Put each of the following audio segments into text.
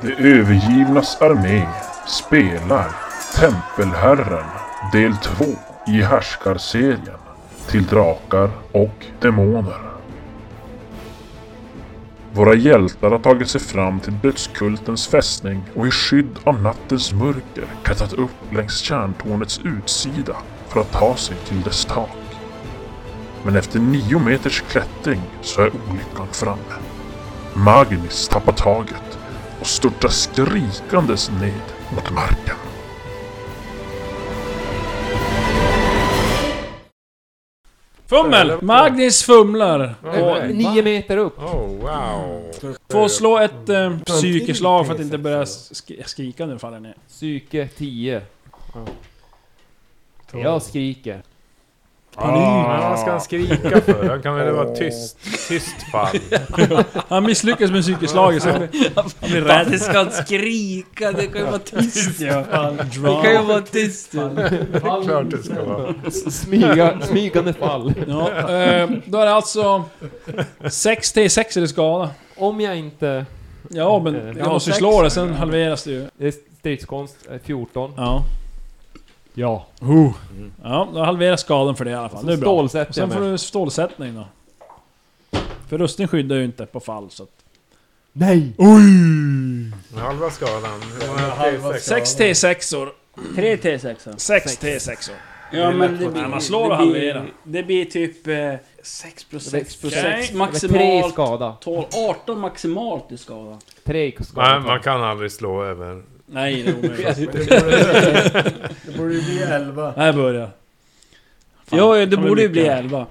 Det övergivnas armé spelar Tempelherren del 2 i härskarserien till drakar och demoner. Våra hjältar har tagit sig fram till dödskultens fästning och i skydd av nattens mörker klättrat upp längs kärntornets utsida för att ta sig till dess tak. Men efter nio meters klättring så är olyckan framme. Magnus tappar taget och störtar skrikandes ned mot marken. Fummel! Magnus fumlar. Och Eh, Nio meter upp. Oh wow. får slå ett eh, psykiskt slag för att inte börja sk- skrika nu faller ner. Psyke 10. Jag skriker. Ah, vad ska han skrika för? Han kan väl vara tyst? Tyst fan. Han misslyckas med psykiskt slag så han blir Fan, rädd. det ska inte skrika, det kan ju vara tyst. Det kan ju Ja, vara tyst. ju. Klart det ska vara. Smyga, smygande fall. eh, då är det alltså 6 T6 i det skada. Om jag inte... Ja men Eh, jag ja, måste ju sex. slå det, sen halveras det ju. Det är stridskonst eh, 14. Ja. Ja. Ja, då halveras skadan för det i alla fall. Det är bra. Stålsätter Sen jag får mig. du stålsättning då. För rustning skyddar ju inte på fall så att... Nej! Halva skalan. Hur många T6? 6 T6or. Tre T6. 6 T6or. Ja men det Ja, blir... man slår och det blir- halverar. Det blir typ... eh, 6 plus Det är 6 plus okej. 6 Tre i maximalt. skada. 12, 18 maximalt i skada. Tre i skada. Nej, man kan aldrig slå över. Nej, det är omöjligt. Det borde ju bli 11. Här börjar Fan, Ja, ja, det kan vi borde ju lycka. bli Mm. 11.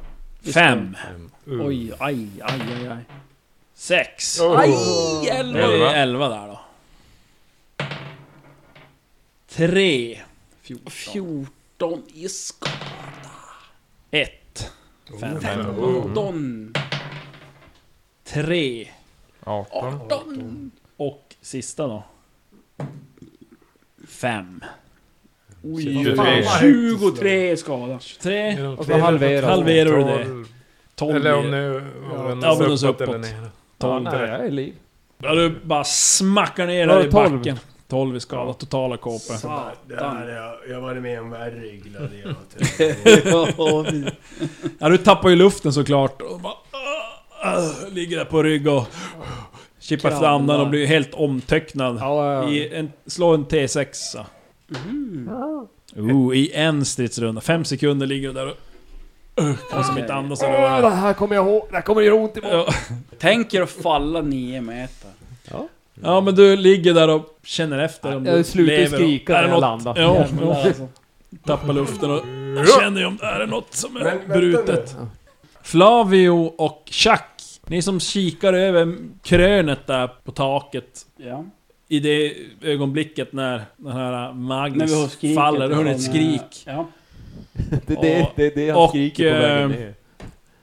Fem. Uh. Oj, aj, aj, aj, aj. Sex. Oh. Aj, Det är 11! elva där då. Tre. 14 i skada. Ett. Fem. Oh. 15. Tre. 18. 18. Och sista då. Fem. Shit, vad Fan, fan. 23 i skada. Tre. Och så halverar Halverar du det. Tolv. Tolv. Eller om ner. nu... Om Ja, men den så är uppåt eller uppåt. ner. Ja, Tolv. nej, jag är i liv. Ja, du bara smackar ner Var där det i tolv? backen. Tolv i skada. Totala kåpor. Det här, jag, jag var med om värre i gladiator. Ja, du tappar ju luften såklart. Och bara, ah, ah, ligger där på rygg och kippar efter Kramlar. andan och blir helt omtöcknad. Ja, ja. I en, slå en T6. Oh, I en stridsrunda. Fem sekunder ligger du där och... Uh, kan som inte andas eller vad det Det är. här kommer jag ihåg. Det här kommer göra ont i mig. Ja. Tänk er att falla 9 meter. Ja men du ligger där och känner efter om Jag du slutar lever och- skrika är när det något- jag landar. Ja, Jävlar, ja, alltså. tappar luften och känner ju om det är något som är Men vänta brutet. Flavio och Chuck, ni som kikar över krönet där på taket. Ja. I det ögonblicket när den här När vi har Magnus skriket faller, du hör ett från, skrik. eh, Ja. Det är det, det, är det han Och, skriker på vägen eh, ner.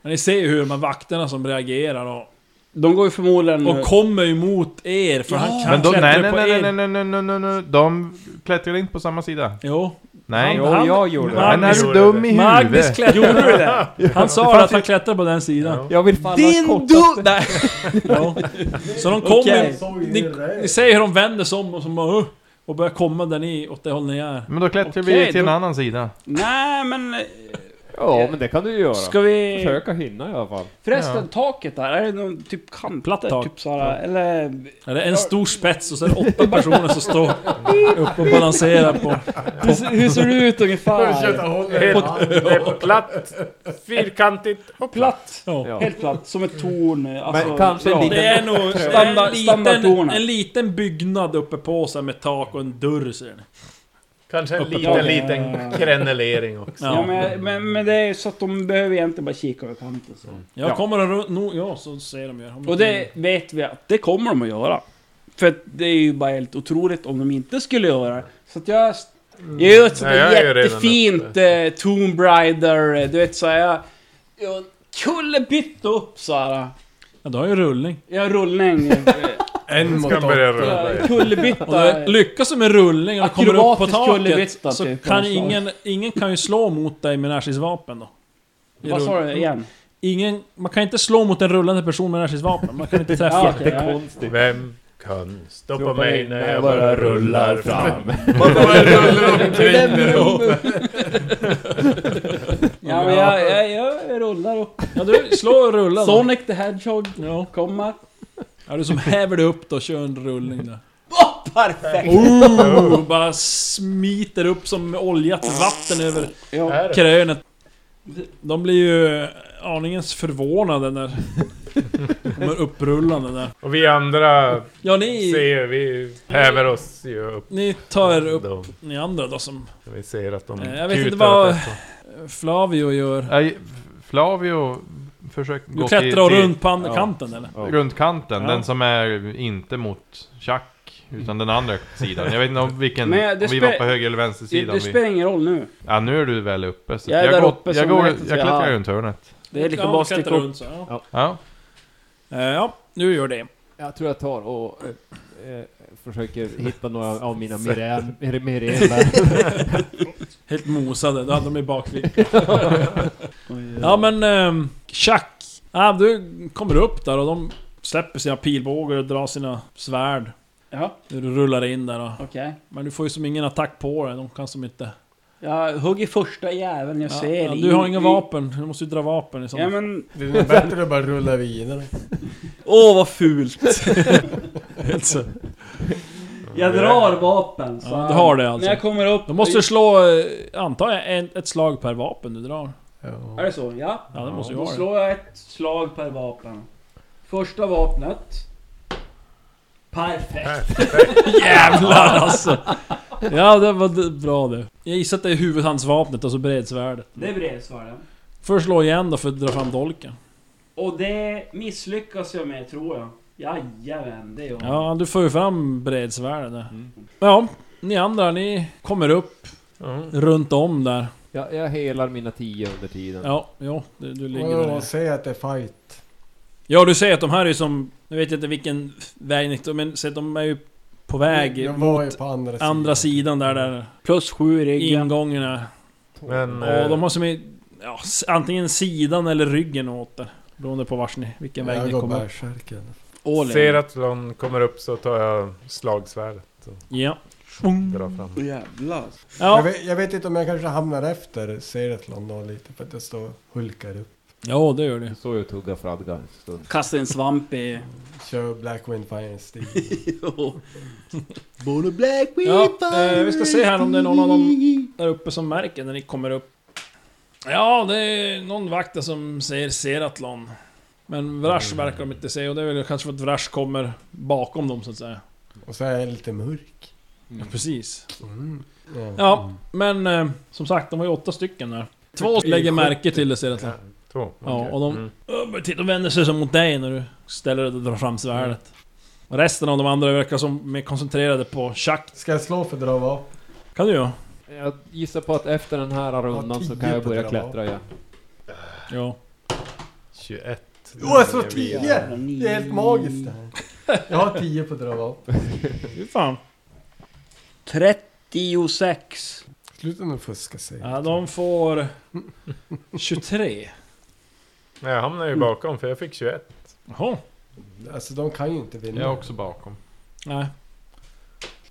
Men ni ser ju hur de här vakterna som reagerar och, De går ju förmodligen... och kommer emot er för han Mm. Ja. kan Men de, klättra nej, nej, på nej, er. nej, nej, nej, nej, nej, nej, de klättrar inte på samma sida. Jo. Nej. Jo, jag gjorde det. Han Magnus, är dum i Magnus huvudet. klättrade. Gjorde du det? Han sa att han klättrade på den sidan. Jag vill falla Din kortast. du... Nej. Ja. Så de kommer... Okej. Ni, ni ser hur de vänder sig om och, som, bara, "Åh", och börjar komma där ni, åt det håll ni är. Men då klättrar Okej, vi till en då- annan sida. Nej men... eh, Ja, men det kan du ju göra. Ska vi... Försöka hinna i alla fall. Förresten, taket där, är det någon typ kant? Platt tak. Typ såhär, eller... Är det en stor spets och så är det åtta personer som står upp och balanserar på... Hur, ser- hur ser det ut ungefär? Det är på platt. Fyrkantigt. Och platt. Ja. Ja. Helt platt, som ett torn. eh, Alltså, Men kanske bra. en liten- Det är nog det är Standard- en, liten, standardtornet. en liten byggnad uppe på sig med tak och en dörr ser ni. Kanske en Uppe på liten, den. liten krennelering också. Ja. Ja, men, men, men det är ju så att de behöver egentligen bara kika över kanten. Så. Jag Ja. kommer att... ru- No, ja, så ser de ju. Om Och det vet vi att det kommer de att göra. För att det är ju bara helt otroligt om de inte skulle göra det. Så att jag... Mm. Jag gör ett sånt Nej, jag där är ju redan jättefint eh, Tomb Raider, eh, du vet såhär... Jag, jag kullerbytta upp såhär. Ja, du har ju rullning. Jag har rullning. eh, En mot Ska börja rulla. Om jag du Kullerbytta. lyckas du med rullning och kommer upp på Akrobatisk taket kullerbytta, så typ, kan någon slag. ingen... Ingen kan ju slå mot dig med närstridsvapen då. I Vad sa rull- du igen? Ingen, man kan inte slå mot en rullande person med närstridsvapen, man kan inte träffa. Ja, okej, Det är ja. konstigt. Vem höns. Stoppa mig när jag bara... bara rullar fram. Ja, men jag, jag, jag rullar upp. Ja, du, slå och rulla då. Sonic the Hedgehog Ja. kommer. ja, du som häver dig upp då, kör en rullning där. Åh, perfekt! Oh, bara smiter upp som oljat vatten över Ja. krönet. De blir ju aningens förvånade när de kommer upprullande där. Och vi andra Ja, ni, ser, vi häver oss ju upp. ni tar upp Dem. ni andra då som Vi ser att de Eh, jag vet kutar inte vad- åt oss. Flavio gör. Nej, Flavio försöker Du gå till, klättrar till runt på an- ja. kanten eller? runt kanten. Ja. Den som är inte mot Chuck, utan den andra sidan. Jag vet inte om vilken, Men det om vi var spe- på höger eller vänster Det, sidan. det Vi, spelar ingen roll nu. ja, nu är du väl uppe. Så Jag är jag, där går, uppe jag, som går, vet jag att jag har- klättrar runt hörnet. Det är lika Ja, bra du att sticka klättrar upp. runt så. Ja. Ja. Eh, ja, nu gör det. Jag tror jag tar och eh, eh, försöker hitta några av mina mirän- mir- mireller. Helt mosade, då hade de i bakfickan. ja men, ehm, tjack! Ja, du kommer upp där och de släpper sina pilbågar och drar sina svärd. Ja, Du rullar in där och, okej. Men du får ju som ingen attack på dig, de kan som inte... Jag hugger första jäveln jag Ja, ser. ja, i- du har inga i- vapen, du måste ju dra vapen i Ja sådana fall. men... Det är bättre att bara rulla vidare. Åh vad fult! Alltså, Jag drar vapen så Ja, du har det alltså. När jag kommer upp... Då måste du slå, eh, antar jag, en, ett slag per vapen du drar. Är det så? Ja. Ja, det måste ju Då vara det. slår jag ett slag per vapen. Första vapnet. Perfekt! Jävlar alltså! Ja, det var d- bra det. Jag gissar att det är huvudhandsvapnet och så bredsvärdet. Det är brevsvaren. Först slå igen då för att dra fram dolken. Och det misslyckas jag med tror jag. Jajamän, det gör jag. Ja, du får ju fram bredsvärdet där. Ja, ni andra ni kommer upp runt om där. jag, jag helar mina tio under tiden. Ja, ja du, du ligger där. Vadå, säg att det är fight. Ja, du ser att de här är som... Nu vet jag inte vilken väg ni tog, men se att de är ju på väg Jag var ju på andra sidan. andra sidan där, där Plus sju i ryggen. ingången är. Men... eh, Och de har som i... Ja, s- antingen sidan eller ryggen åt det. Beroende på vars ni, vilken väg Jag ni går kommer upp. bärsärken. All in. eh, Ser att någon kommer upp så tar jag slagsvärdet och Ja. drar fram. Åh, jävlar. Jag, Ja. vet, jag vet inte om jag kanske hamnar efter Seratlon då lite för att jag står och hulkar upp. ja, det gör Du det. står ju och tuggar fradga en stund. Kasta en svamp i... Kör Blackwind Fire Steel. Bone black Ja, eh, vi ska se här om det är någon av dem där uppe som märker när ni kommer upp. Ja, det är någon vakt där som säger Seratlon. Men Vrash Mm. verkar de inte se och det är väl kanske för att Vrash kommer bakom dem så att säga. Och så är jag lite mörk. Ja, precis. Mm. Ja. Ja, men eh, som sagt, de var ju åtta stycken där. Två lägger märke till det Seratlon. Två. Ja, okej. och de- Mm. Ja, men Titta, de vänder sig som mot dig när du ställer dig och drar fram svärdet. Och resten av de andra verkar som mer koncentrerade på tjack. Ska jag slå för att dra vapen? Kan du ju. Jag gissar på att efter den här rundan så tio kan jag på börja det klättra igen. Ja. 21. Jo, jag slår Det är 10! vi. Det är helt magiskt det här. Jag har 10 på att dra vapen. Fy fan. 36. Sluta nu fuska sig. Ja, de får... 23. Nej, jag hamnar ju bakom för jag fick 21. Jaha. Alltså de kan ju inte vinna. Jag är också bakom. Nej.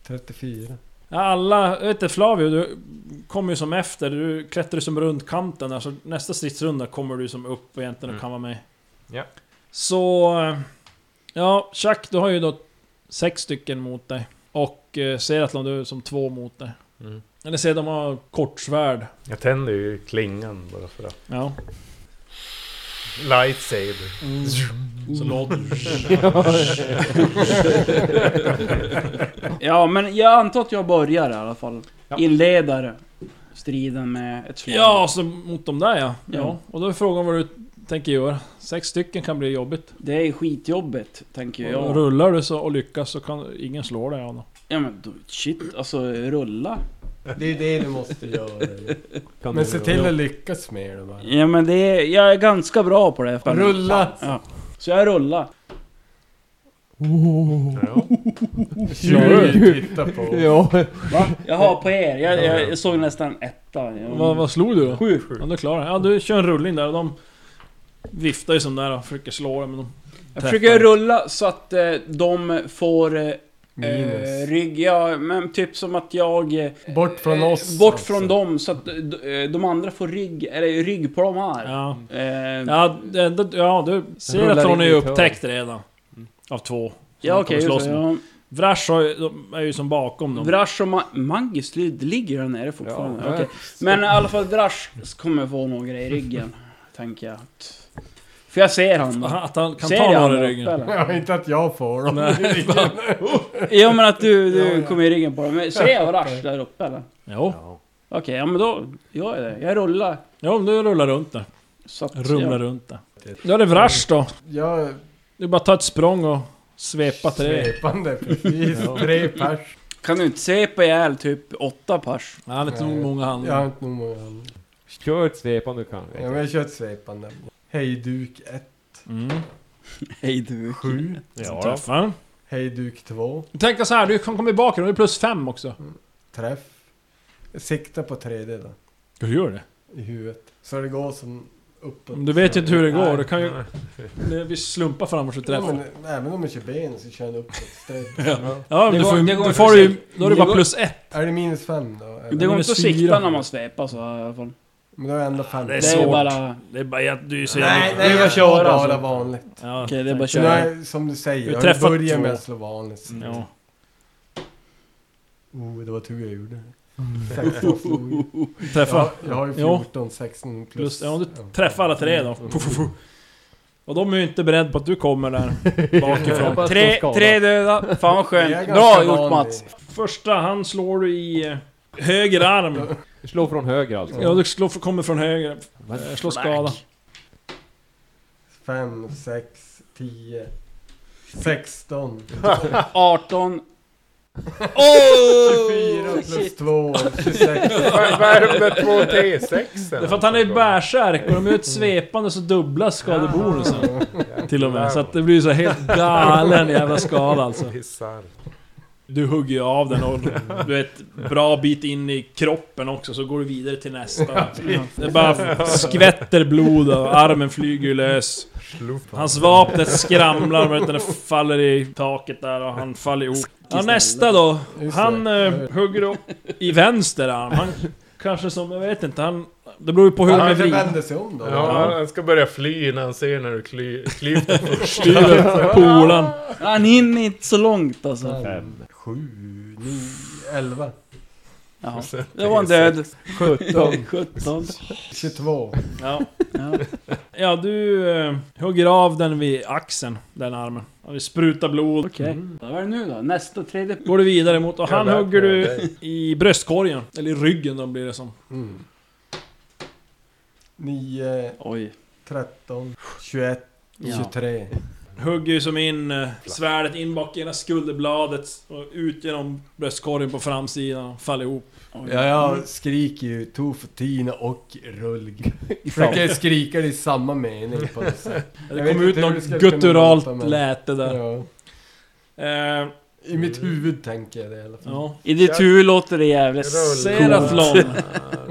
34. Ja, Alla... Jag vet inte, Flavio, du kommer ju som efter. Du klättrar ju som runt kanten där, så nästa stridsrunda kommer du som upp egentligen och Mm. kan vara med. Ja. Så... eh, Ja, Chuck, du har ju då sex stycken mot dig. Och eh, Seratlon, du är som två mot dig. Mm. Eller ser de har kortsvärd. Jag tänder ju klingan bara för att. Ja. Lightsaber. Så låter Ja, men jag antar att jag börjar i alla fall. Ja. Inleder striden med ett slag. Ja, så mot de där ja. ja. Ja. Och då är frågan vad du tänker göra. Sex stycken kan bli jobbigt. Det är skitjobbigt, tänker Och jag. Rullar du så och lyckas så kan ingen slå dig Anna. Ja men då- shit, alltså rulla. Det är ju det du måste göra. Kan Men du- se till att lyckas med det bara. Ja men det är, jag är ganska bra på det. fan. Rulla! Ja. Så jag rullar. Ja. Slår du? Titta på. Ja, Jag har på er, jag, jag, jag såg nästan etta. Jag, Vad, vad slog du då? Sju. Ja, du klarar det. Ja, du kör en rullning där och de viftar ju som där och försöker slå dig men de Jag försöker rulla så att eh, de får eh, eh, Minus. rygg, ja men typ som att jag... eh, Bort från eh, oss. Bort alltså. från dem så att eh, d- eh, de andra får rygg, eller rygg på de här. Ja. Eh, ja Ja, det, det, ja, du ser Rullar att hon in är i ett Mm. upptäckt redan. Av två. de okej, kommer slåss just det, ja. Vrash har ju- de är ju som bakom dem. Vrash och Ma- Magnus det ligger där nere fortfarande. Ja, Okej. Men i alla fall Vrash kommer få några i ryggen, tänker jag. För jag ser han. Aha, Att han kan Ser ta jag några han i där uppe, ryggen. eller? Ja, inte att jag får dem. Ja men att du, du Ja, ja. kommer i ryggen på dem. Men Ser jag Vrash där uppe eller? Jo. Okej, ja men då gör jag det. Jag rullar. jo, men du rullar runt där. Så att Rumlar jag, runt där. Nu är det Vrash då. Jag Du bara ta ett språng och svepa till det. svepande precis. Tre pers. kan du inte se på ihjäl typ åtta pers? Nej, han är inte nog många han. Jag har inte nog många andra. Kör ett svep om du kan. Ja, men jag kör ett svepande. Hejduk 1, Mm. Hej du. 7. Ja, träffar. Hejduk 2, Tänk dig så här, du kan komma i bakgrunden, det är plus fem också. träff. Sikta på tredje då, Hur gör det? i huvudet. Så det går som uppåt. Du vet ju inte hur det går, Nej. du kan ju... det- Vi slumpar framåt och Ja, träffar. men, även om jag kör ben så kör jag uppåt. straight. Ja, men Det du går- får, det ju- går då att får du ju... försöka- Då är det det bara går- plus ett. Är det minus fem då? eller? Det går Minus inte att fyra. sikta när man svepar så i alla fall. Men då är det ändå fem. Det är Det är svårt. bara... Det är bara att du är så Nej, jävla- nej, jag kör kör bara alltså. vanligt. Ja, Okej, det är bara att Så köra. jag, som du Vi säger, jag träffar börjar med två. att slå vanligt. Ja. Oh, det var tur jag gjorde det. 16 slog ju. Träffa. Ja, jag har ju Mm. Ja. 14, 16 plus. Plus, ja, om du träffar alla tre då. Mm. Puff, puff, puff. Och de är ju inte beredda på att du kommer där bakifrån. Bara Tre, skada. tre döda. Fan vad Det är skönt. ganska Bra gjort vanlig. Mats. Första han slår du i eh, höger arm. Slå från höger alltså. Ja, du slår, kommer från höger. Men- Eh, Slå skada. 5, 6, 10, 16. 18. Fyra Oh! plus Shit. 2, 26. Vad vad är det med två Alltså, T6 Det är för att han är bärsärk och de är ett svepande så dubbla skadebonusen. Till och med. Så att det blir så här helt galen jävla skada alltså. Pissar. Du hugger ju av den och du är ett bra bit in i kroppen också så går du vidare till nästa. Det bara skvätter blod och armen flyger ju lös. Hans vapnet skramlar men den faller i taket där och han faller ihop. Ja, nästa då. Just det. Han eh, hugger upp i vänster arm. Han kanske som, jag vet inte, han... Det beror ju på hur de Han är kanske vridna. vänder sig om då. Ja, han ska börja fly när han ser när du kly- klyver först. Styver polan. Han hinner inte så långt alltså. 5, 7, 9, 11, Ja. Det var en död. 17. 17. 22. Ja. Ja. ja, du eh, hugger av den vid axeln, den armen. Och det sprutar blod. Okej. Vad var det nu då? Nästa, tredje. Går du vidare mot och han Jävlar, hugger du dig. i bröstkorgen. Eller i ryggen då blir det som. Mm. 9, Oj. 13, 21, Ja. 23. Hugger ju som in eh, svärdet in bak i ena skulderbladet och ut genom bröstkorgen på framsidan och faller ihop. Ja, jag skriker ju tofotina och rullg. Försöker skrika det i samma mening på något sätt. Jag Det vet kommer ut inte hur vi något ska kunna låta, gutturalt men- läte där. Ja. Eh, I mitt huvud tänker jag det i alla fall. ja. I ditt huvud låter det jävligt Seratlon.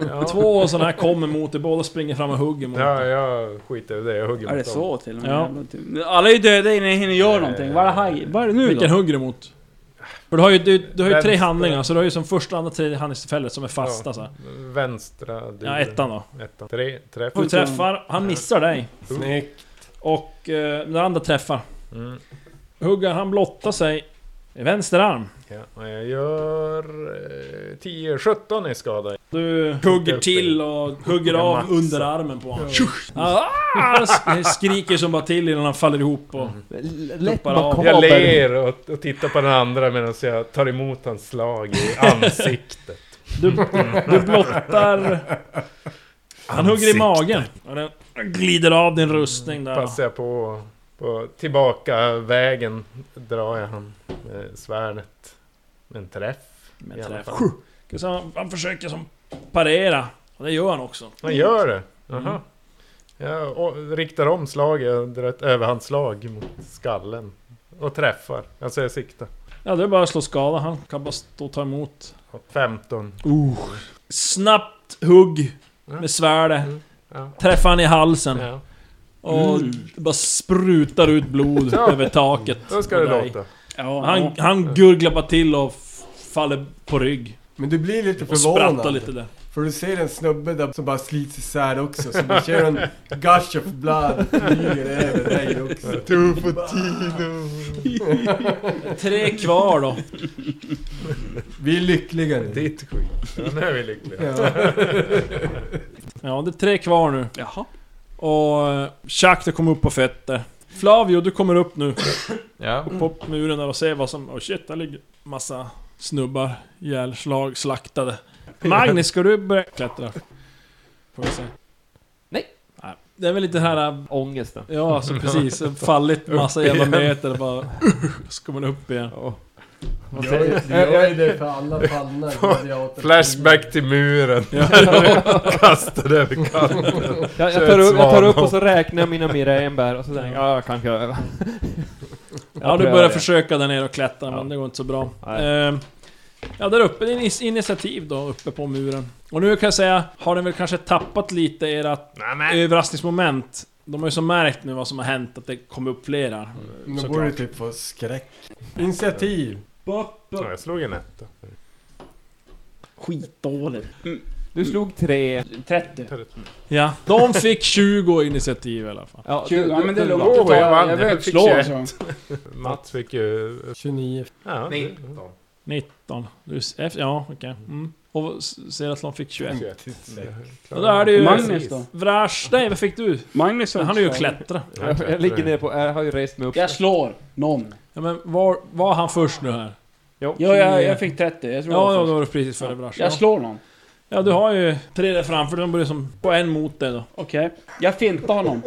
Ja. Två sådana här kommer mot dig, båda springer fram och hugger mot Ja, dig. jag skiter i det. Jag hugger Är det mot dem. så till och med? Ja. Jävla tur. Alla är ju döda innan jag hinner göra någonting. Vad är det, här? Vad är det nu då? Vilken hugger du mot? För du har ju, du, du har ju tre Vänster. handlingar, så du har ju som första, andra, tredje handlingstillfället som är fasta så här. Vänstra Ja, delen. ettan då. Ettan. Tre, träff. Du träffar, han missar dig. Snyggt. Och eh, den andra träffar. Mm. Huggar, han blottar sig i vänster arm. Ja, och jag gör... Eh, 10, 17 i skada. Du hugger till och hugger av Maxa. underarmen på honom. Ah, han sk- skriker som bara till innan han faller ihop och... Lätt Tuppar av. Jag makaber. ler och, och tittar på den andra medan jag tar emot hans slag i ansiktet. Du, du blottar... Han hugger i magen. Och den glider av din rustning där. Passar jag på, på tillbaka vägen drar jag han med svärdet. Men träff. Med i alla träff. fall. Så han, han försöker som parera. Och det gör han också. Han gör det? Mm. Jaha. Jag och, riktar om slaget, jag drar ett överhandslag mot skallen. Och träffar. Alltså jag siktar. Ja, det är bara att slå skada. Han kan bara stå och ta emot. 15. Uh. Snabbt hugg med svärdet. Ja. Träffar han i halsen. Ja. Och det bara sprutar ut blod Mm. Ja. över taket. Då ska på det dig. låta. Ja, Han, han gurglar bara till och f- faller på rygg. Men du blir lite Och sprattar förvånad. lite där. För du ser en snubbe där som bara slits isär också. Så du ser en gush of blood flyger över dig också. Tre kvar då. Vi är lyckliga nu. Ditt skit. Ja, nu är vi lyckliga. Ja. Ja, det är tre kvar nu. Jaha. Och eh, Chuck, du kommer upp på fötter. Flavio, du kommer upp nu. Ja. Upp på muren där och ser vad som... Oh shit, där ligger massa snubbar. Ihjälslag, slaktade. Magnus, ska du börja klättra? Får vi se. Nej. Nej. Det är väl lite här... äh, Ångesten. Ja, alltså precis. Fallit massa jävla meter och bara... Ska man upp igen. Vad Jag säger är- jag är det för alla fallna gladiatorer. Flashback till muren. Kastade över kanten. Jag, Så jag, tar ett upp, jag tar upp svanhopp. och så räknar jag mina miraenbär och så tänker jag, ja, jag kan köra. Ja, du börjar försöka där nere och klättra, men det går inte så bra. Nej. Ehm, ja, där uppe, det är in- initiativ då, uppe på muren. Och nu kan jag säga, har den väl kanske tappat lite ert överraskningsmoment? De har ju så märkt nu vad som har hänt, att det kom upp flera. Nu såklart. borde du typ få skräck. Initiativ. Ja, Jag slog en etta. Skitdåligt. Du slog tre. 30. Ja, de fick 20 initiativ i alla fall. Ja, Tjugo. Ja, men det är lugnt. Åh, Oh, jag vann. jag Jag jag vill fick slå alltså. tjugoett. så. Mats fick ju... 29. Ja, det- 19. Du, s- F, ja, okej. Mm. Och s- Seratlon fick 21. 21. Och då är det ju... Magnus då? Vrash, nej vad fick du? Magnus har Han är ju inte slagit. klättra. Jag, jag ligger ner på, jag har ju rest mig upp. Jag slår. Någon. Ja, men var, var han först nu här? Jo. Ja, jag, jag fick 30. Jag tror Ja, jag ja, var då först. var det precis före Vrash. Jag Ja. slår någon. Ja, du har ju tre där framför, de börjar som på en mot dig då. Okej. Jag fintar honom.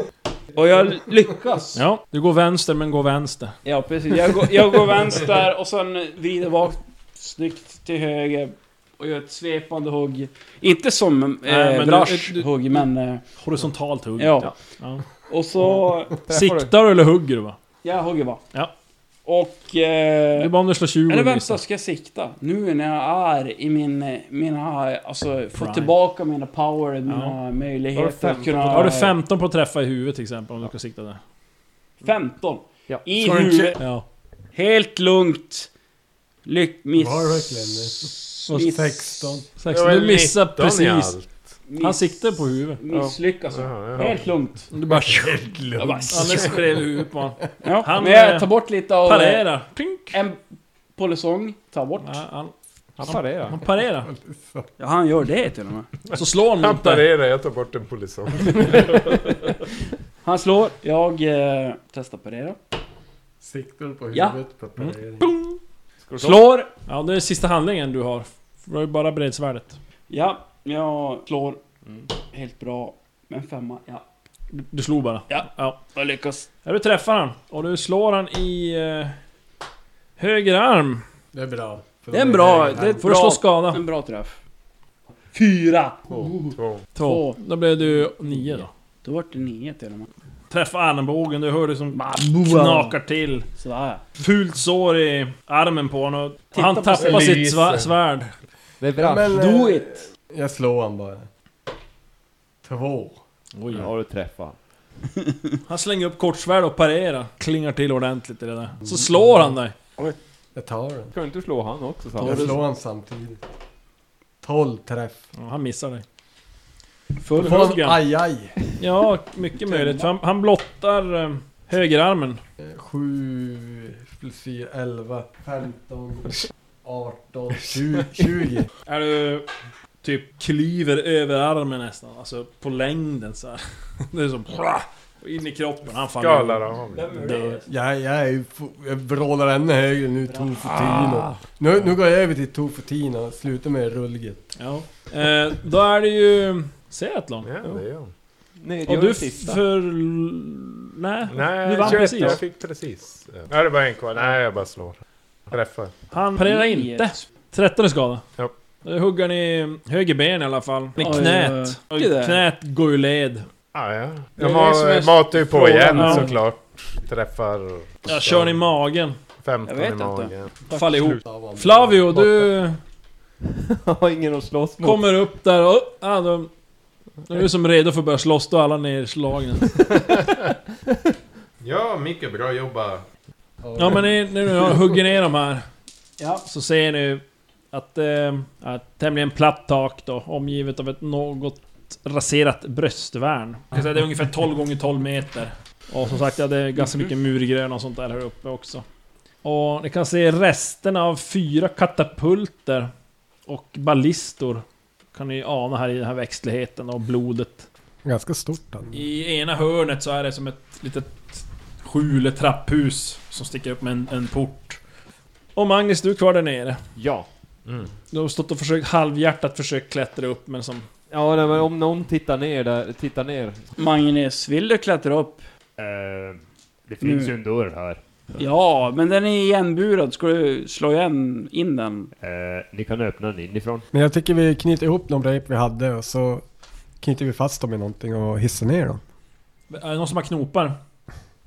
Och jag lyckas. Ja, Ja, du går vänster men går vänster. precis. Jag går, jag går vänster och sen vrider bak snyggt till höger. Och gör ett svepande hugg. Inte som Nej, eh, men du- Brash du- hugg, men... Eh, Horisontalt hugg. ja. Ja. Och så... Siktar du eller hugger du va? Jag hugger bara. Ja. Och... Det är Eh, bara om du slår 20 eller och vänta, missar. ska jag sikta? Nu när jag är i min... eh, Mina... Alltså, få Prime. tillbaka mina power, mina Har du möjligheter femton att kunna... Har du 15 på att träffa i huvudet till exempel, om du ska sikta där? 15. Ja. I Ska du huvudet. Ja. Helt lugnt. Lyck... Miss... Var verkligen det? miss- 16. Sex. Det var Du missar 19 i precis. allt. miss- Han siktar på huvudet. Misslyckas. Jaha, jaha. Helt lugnt. Du bara... Helt Jag bara, Anders skrev huvudet på honom. ja. Han, Men jag eh, tar bort lite av... eh, Parerar. Plink. En polisong. Ta bort. Ja, han, Han han parerar. parerar. Ja, han gör det till och med. Så slår han Han mot dig. parerar, jag tar bort en polisong. Han slår. Jag eh, testar parera. Siktar du på Ja. huvudet på parering? Slår. Ja, det är sista handlingen du har. Det var ju bara bredsvärdet. Ja, jag slår. Helt bra. Men femma, ja. Du- Du slog bara. Ja. ja. Jag lyckas. Ja, du träffar han. Och du slår han i... Eh, höger arm. Det är bra. För Det är en de bra- höga. det är- Får du Bra. slå skada? En bra träff. Fyra! Två. Två. Två. Då blev du nio då. Då vart det nio till och med. Träffa armbågen, du hör det som Bara knakar till. Sådär. Fult sår i armen på honom. och Titta Han på tappar sig. sitt sva- svärd. Det är bra. Men, eh, Do it! Jag slår han bara. Två. Oj, har du träffat. Han slänger upp kortsvärd och parerar. Klingar till ordentligt i det där. Så slår han dig. Jag tar den. Kan du inte slå han också? Så? Jag slår han samtidigt. 12 träff. Ja, han missar dig. Då Full får han hugg han. aj aj. Ja, mycket möjligt. För han, han blottar eh, högerarmen. 7 plus 4, 11, 15, 18, 20. 20. Är du typ klyver över armen nästan, alltså på längden så här. Det är som... Och in i kroppen, han faller. Skalar av. Dör. Jag, jag, är ju fo- jag vrålar ännu högre nu, Ah. Tofutino. Nu, nu går jag över till Tofutino och slutar med rullget. Ja. Eh, då är det ju... Seatlon. Ja, det är han. Nej, Och gör du det sista. för... Nej. Nej, Du vann 21, precis. jag fick precis. Ja, det är bara en kvar. Nej, jag bara slår. Träffar. Han parerar Nio. inte. 13 skada. Ja. Då hugger ni höger ben i alla fall. Ni Oj, knät. oj, oj. Och knät går ju led. Ja, ja. är Jag det som ma- är matar ju på frågan. igen Ja. såklart. Träffar Jag kör i magen. 15 Jag i vet magen. Faller ihop. Flavio, du Jag har ingen att slåss mot. kommer upp där och... Ja, då Nu är du som redo för att börja slåss, då är alla nerslagna. Ja, mycket bra jobbat. Ja men ni, när ni har hugger ner de här, Ja. så ser ni att eh, ja, ett tämligen platt tak då, omgivet av ett något raserat bröstvärn. Jag kan säga Det är ungefär 12 gånger 12 meter. Och som sagt, ja, det är ganska mycket murgröna och sånt där här uppe också. Och ni kan se resterna av fyra katapulter och ballistor. Kan ni ana här i den här växtligheten och blodet. Ganska stort ändå. I ena hörnet så är det som ett litet skjul, ett trapphus som sticker upp med en, en port. Och Magnus, du är kvar där nere. Ja. Du har stått och försökt halvhjärtat försökt klättra upp men som... Ja, nej, men om någon tittar ner där, tittar ner. Magnus, vill du klättra upp? det finns ju en dörr här. Ja, men den är igenburad. Ska du slå igen in den? Eh, ni kan öppna den inifrån. Men jag tycker vi knyter ihop de rep vi hade och så knyter vi fast dem i någonting och hissar ner dem. Är det någon som har knopar?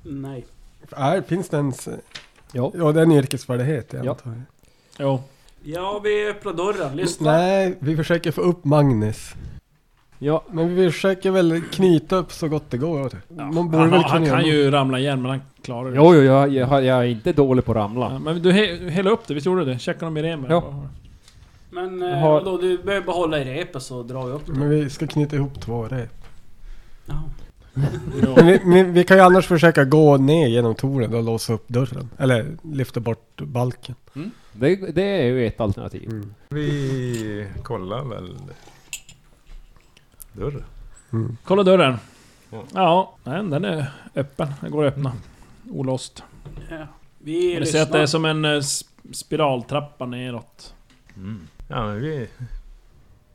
Nej. Är, finns det ens... Ja. Ja, det är en yrkesfärdighet jag Ja. antar jag. Jo. Ja, vi öppnar dörren. Lyssna. Nej, vi försöker få upp Magnus. Ja. Men vi försöker väl knyta upp så gott det går. Man borde Han, väl han, kunna kan göra ju ramla igen men han klarar det. Jo, jo, jag, jag, har- jag är inte dålig på att Ja, ramla. men du he, hela upp det, visst gjorde du det? Checka dem i remen. Ja. Men Jag eh, har- vadå, du behöver bara hålla i repet så drar jag upp Men vi ska knyta ihop två rep. Ja. Men vi, men vi kan ju annars försöka gå ner genom tornet och låsa upp dörren. Eller lyfta bort balken. Det, det är ju ett alternativ. Mm. Vi kollar väl... Dörr. Kolla dörren. Ja. Ja, nej, den är öppen. Den går att öppna. Olåst. Ja. Vi Ni ser att det lyssnar. är som en eh, s- spiraltrappa neråt. Ja, men vi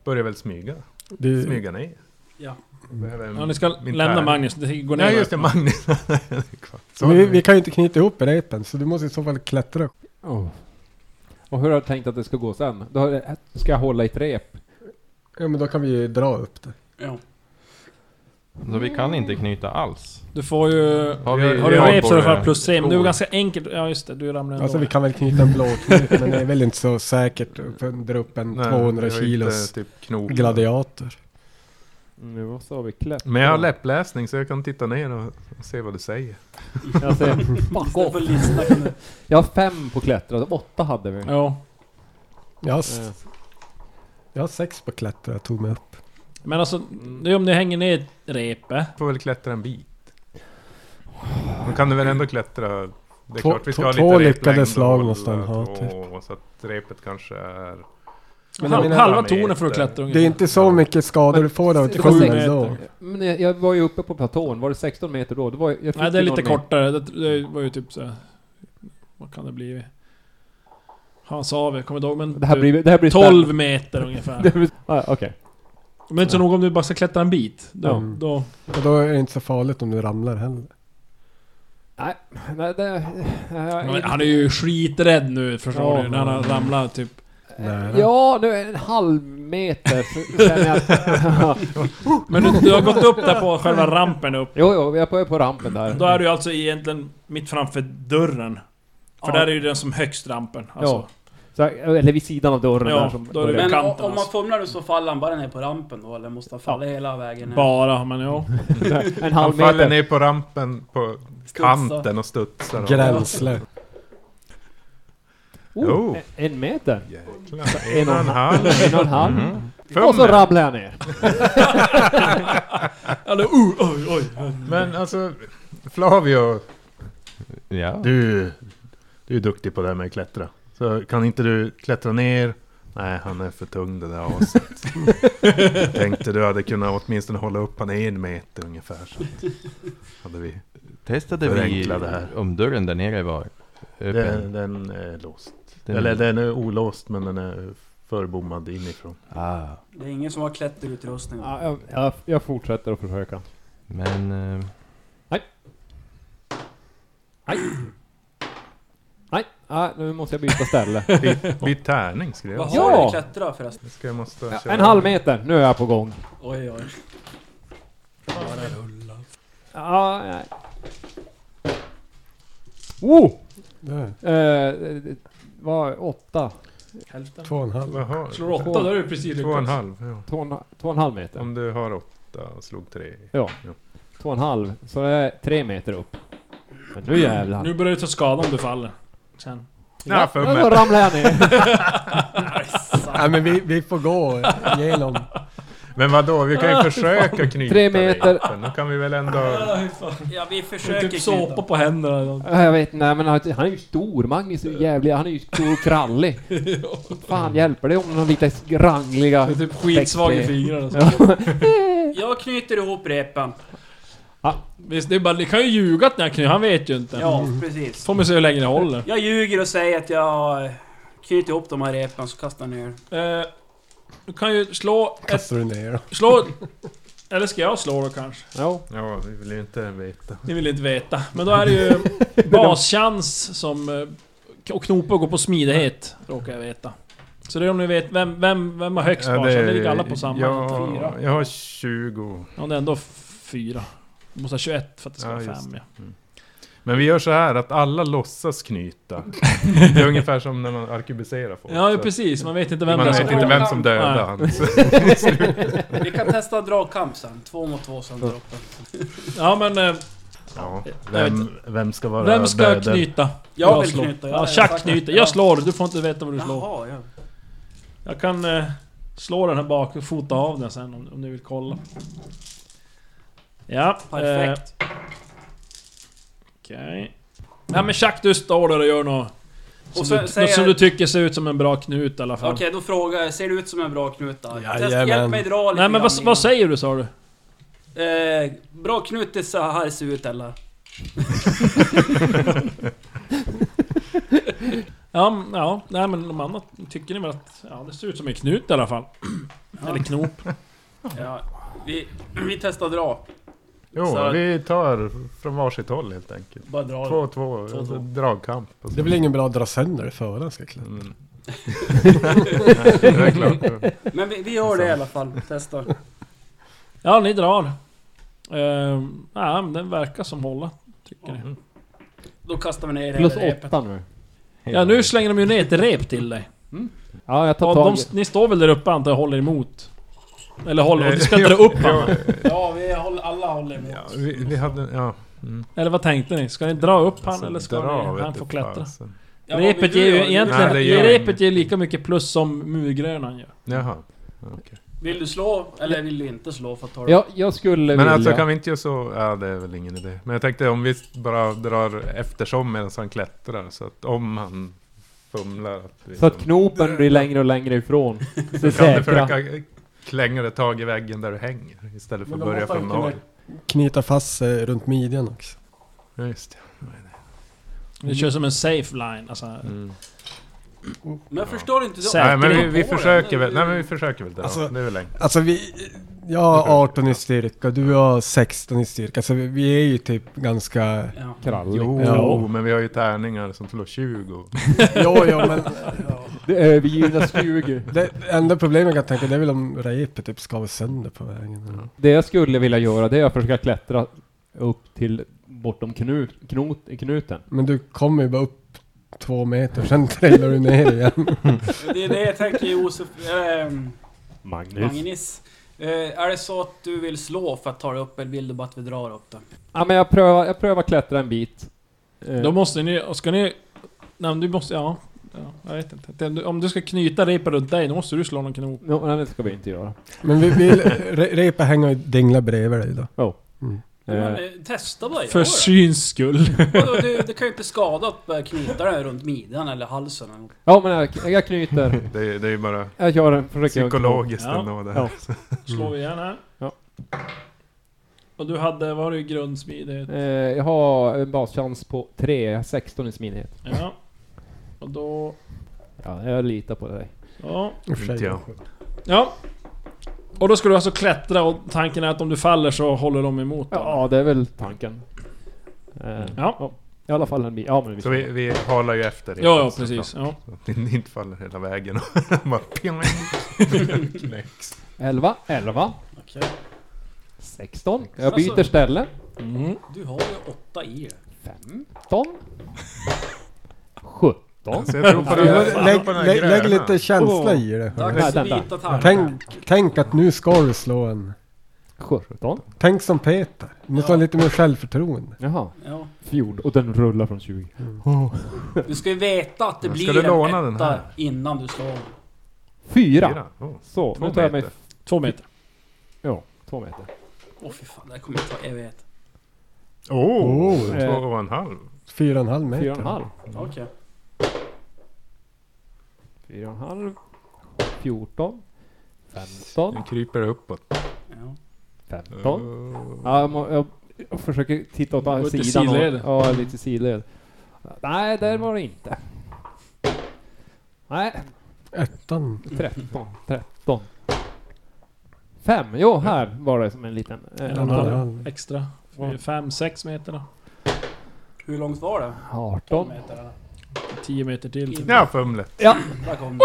börjar väl smyga. Du, Smyga ner. Ja. Behöver en- Ja, ni ska min lämna pärl. Magnus. Det går ner Nej, just det. där. Magnus. Han är kvar. Så, men vi, vi kan ju inte knyta ihop repen så du måste i så fall klättra. upp. Oh. Och hur har du tänkt att det ska gå sen? Då har jag- ska jag hålla i ett rep? Ja men då kan vi ju dra upp det. Ja. Så vi kan inte knyta alls. Du får ju... Har vi- Har du har rep så du bara får plus 3, men du är skor. ganska enkelt... Ja just det, du ramlar ändå. Alltså vi kan väl knyta en blå knut men det är väl inte så säkert att dra upp en nej, vi 200 har kilos inte Typ knop. gladiator. Mm, Nu måste vi klätt. Men jag har läppläsning så jag kan titta ner och och se vad du säger. Jag, ser, Lyssna på listan kan du- jag har fem på klättra, åtta hade vi. Ja. Jag har, s- jag har sex på klättra, jag tog mig upp. Men alltså, det är om ni hänger ner repet. Får väl klättra en bit. Men kan du väl ändå klättra? Det är Två- klart vi ska ha två- två lite lyckade replängd och slag typ. hålla måste han ha, två, Så att repet kanske är... Men Halv, jag menar- halva tornet får du klättra Det är ungefär. inte så mycket skador du får av ett Det var skjul sex ändå. meter. Men jag, jag var ju uppe på platån, var det 16 meter då? Det var, jag fick Nej, det är ju lite någon- kortare. Det, det var ju typ så. här- Vad kan det bli? Han sa vi, jag kommer inte ihåg men... Det här typ blir, det här blir 12 meter ungefär. spännande. ah, Okej. Men inte så nog om du bara ska klättra en bit. Då, Mm. då, Och då är det inte så farligt om du ramlar heller. Nej, nej, det... jag- men han är ju skiträdd nu förstår Ja. du. När han ramlar typ... Nära. Ja, nu är det en halv meter. så känner jag att- Men du, du har gått upp där på själva rampen upp. jo, jo, jag är på- på rampen där. Då är du alltså egentligen mitt framför dörren. För Ja. där är ju den som högst rampen. Alltså. Så, eller vid sidan av dörren Ja, där som... då är det börjar. väl- Men kanten o- om man alltså. fumlar nu så faller han bara ner på rampen då, eller måste han falla hela vägen ner? Bara, men ja. en Han halv faller meter. ner på rampen på Studsa. kanten och studsar. och- Gränsle. Jo. Oh, en- en meter. Jäklar. En och en halv. En och en halv. Och så Fummer. ramlar jag ner. Eller uh, oj, oj. Men alltså, Flavio. Ja. Du, du är duktig på det här med att klättra. Så kan inte du klättra ner? Nej, han är för tung det där aset. Tänkte du hade kunnat åtminstone hålla upp han en meter ungefär. Så att- hade vi. Testade vi Förenkla det här. om dörren där nere var öppen? Den, den är låst. Den- Eller den är olåst men den är förbommad inifrån. Ah. Det är ingen som har klätterutrustning. Ja, jag, jag, jag fortsätter att försöka. Men... eh, Nej. Nej, ah, nu måste jag byta ställe. Byt, byt tärning skulle Vad jag har Ja. du att klättra förresten? Ska jag måste Ja, köra. En halv meter, nu är jag på gång. Oj oj. Ah, nej. Oh! Där, Eh, var åtta, Hälften. Två och en halv. Vad har du? Slår åtta, då är du precis Två och en lyckats. halv. Ja. två och en, två och en halv meter. Om du har åtta. åtta och slog tre. Ja. Ja. Två och en halv. Så det är tre meter upp. Men nu jävlar. Nu börjar du ta skada om du faller. Sen. Ja, för Ja, då mig. ramlar jag ner. Nej men vi, vi får gå igenom. Men vadå, vi kan ju försöka knyta Tre meter. dit, men Nu kan vi väl ändå... Ja, vi försöker Typ såpa på händerna eller något. Ja, Jag vet inte, men han han är ju stor. Magnus är ju jävlig. Han är ju stor och krallig. Fan hjälper det om någon lite rangliga... Det är typ skitsvag i fingrarna. Så. Jag knyter ihop repan. Visst, det är bara, ni kan ju ljuga att ni har knutit, han vet ju inte. Ja, precis. Får man se hur länge det håller. Jag ljuger och säger att jag knyter ihop de här repan så kastar jag ner. Eh, du kan ju slå ett... Kastar du ner Slå... Eller ska jag slå då kanske? Ja. Ja, vi vill ju inte veta. Ni vill inte veta. Men då är det ju baschans som... eh, Och Knopa går på smidighet, råkar jag veta. Så det är om ni vet, vem, vem, vem har högst Ja, barchans? Det ligger alla på samma. Ja, Fyra. jag har 20. Ja, det är ändå f- fyra. Du måste ha 21 för att det ska Ja, vara just fem ja. Men vi gör så här att alla låtsas knyta. Det är ungefär som när man arkebuserar folk. Ja, så- precis. Man vet inte vem Man det är vet som inte kommer. vem som dödade Nej. han. Så- Vi kan testa dragkamp sen. Två mot två sen droppen. Ja, men... eh, Ja, Jag vem, vem ska vara Vem ska döden? knyta? Jag vill slår. knyta, jag Ja, har Chuck sagt knyter. det. Jag slår. Du får inte veta vad du slår. Eh, Jaha, ja. Jag kan eh, slå den här bak och fota av den sen om, om ni vill kolla. Ja, Eh, Perfekt. Okej. Nej men Chuck, du står där och gör något... Som, Och så du, säger- något som du tycker ser ut som en bra knut i alla fall. Okej, då frågar jag. Ser det ut som en bra knut då? Test, Jajamän. hjälp mig dra lite Nej men grann vad, i vad den. säger du sa du? Eh, bra knut, det är så här det ser ut eller? Ja, m- ja, nej men de andra tycker ni väl att... Ja, det ser ut som en knut i alla fall. Eller knop. Ja, vi, vi testar dra. Jo, Alltså- Så- vi tar från varsitt håll helt enkelt. Bara dra. Två, två, två. dragkamp. och så. Det är väl ingen bra att dra sönder det före han ska klättra? Mm. Nej, det är klart. Men vi, vi gör det i alla fall. Testar. Ja, ni drar. Uh, ja, men den verkar som hålla. Tycker ni. Då kastar vi ner Plus hela repet. åtta nu. Ja, nu slänger de ju ner ett rep till dig. Ja, jag tar Och tag. de, ni står väl där uppe antar jag och håller emot? Eller håller... Och du ska Ja, dra upp ja, honom? Ja, vi håller, alla håller emot. ja, vi, vi hade... Ja. Mm. Eller vad tänkte ni? Ska ni dra upp han Så eller ska Alltså, dra, ni, vet han du få klättra? fasen. Ja, vad repet vill ger du ju göra? egentligen... Nej, det gör repet inget. ger lika mycket plus som murgrönan gör. Jaha. okej. Vill du slå eller vill du inte slå för att ta det? Ja, jag skulle Men vilja... alltså kan vi inte göra så... Ja, det är väl ingen idé. Men jag tänkte om vi bara drar eftersom medan han klättrar. Så att om han fumlar... Att vi, liksom- Så att knopen blir längre och längre ifrån. Så kan du säkra. försöka klänga dig tag i väggen där du hänger istället för att Men då börja måste från han kunna- noll. Knyta fast sig runt midjan också. Ja, just det. Det kör som en safe line. Alltså, Mm. Men jag förstår inte... Säkert. Nej men vi, Tänker vi på det. försöker väl, Det nej är ju- men vi försöker väl det. Alltså- ja. det är väl enkelt. Alltså vi... Jag har 18 i styrka, du har 16 i styrka, så vi, vi är ju typ ganska... Ja. Krallig. Jo, Ja. men vi har ju tärningar som slår 20. Jo, jo men... Det övergivna stugor. Det enda problemet jag kan tänka det är väl om repet typ skaver sönder på vägen. Det jag skulle vilja göra det är att försöka klättra upp till bortom knut, knut, knuten. Men du kommer ju bara upp två meter, sen trillar du ner igen. Det är det jag tänker Josef... ehm, Magnus. Magnus. Eh, är det så att du vill slå för att ta det upp eller vill du bara att vi drar upp det? Ja men jag prövar, jag prövar klättra en bit. Eh, Då måste ni... och Ska ni... Nej men du måste... Ja. ja jag vet inte. Om du- Om du ska knyta repet runt dig, då måste du slå någon knop. no, nej, Eh, det ska vi inte göra. Men vi vill... Re, repa hänger och dinglar bredvid dig då. Eh, Men, eh, testa bara, För gör syns skull. Mm. det. Vadå, du, det kan ju inte skada att börja knyta den runt midjan eller halsen. eller något. ja men jag, jag knyter. Det, är- det är ju bara Jag gör en, försöker... psykologiskt Ja. ändå det Ja. här. Slår vi igen här. Ja. Och du hade... Var det ju grundsmidighet? Eh, jag har en baschans på 3, jag har 16 i smidighet. Ja. Och då... Ja, jag litar på dig. Ja. I och för sig. Inte jag. Ja. Och då ska du alltså klättra och tanken är att om du faller så håller de emot då. Ja, det är väl tanken. Eh, Ja. I alla fall en bit. Ja men vi... Så vi, vi halar ju efter. Ja, ja precis. Ja. Så att ni inte faller hela vägen och bara ping, knäcks. 11, 11. Okej. 16. Jag byter Alltså- ställe. Mm. Du har ju åtta i det. 15. 17. Så jag tror på den här- jag tror Lägg, på den här lägg, lägg gröna. lite känsla i det. Dags Nej, vänta. för vita tärningar. Tänk, tänk att nu ska du slå en... 17. Tänk som Peter. Du måste Ja. ha lite mer självförtroende. Jaha. Ja. 14. Och den rullar från 20. Mm. Du ska ju veta att det Ska blir du en låna den etta här? innan du slår. Fyra. Fyra. Oh. Så, Två nu tar jag mig... meter. Två meter. Ja, två meter. Åh fy fan, det här kommer jag ta evighet. Oh, Oh. två och en halv. Fyra och en halv meter. Fyra och en halv. Mm. Okej. Fyra och en halv. 14. 15. Den kryper uppåt. Ja. 15. Ja, jag, må, jag, jag försöker titta åt Gå andra lite sidan. och- sidled. Ja, lite sidled. Nej, där var det inte. Nej, Ettan. 13. 13. 5. Jo, här var det som en liten... En Eh, och en halv. halv extra. Fem, sex meter då. Hur långt var det? 18. Tio meter till. Ja, fumlet. Där kom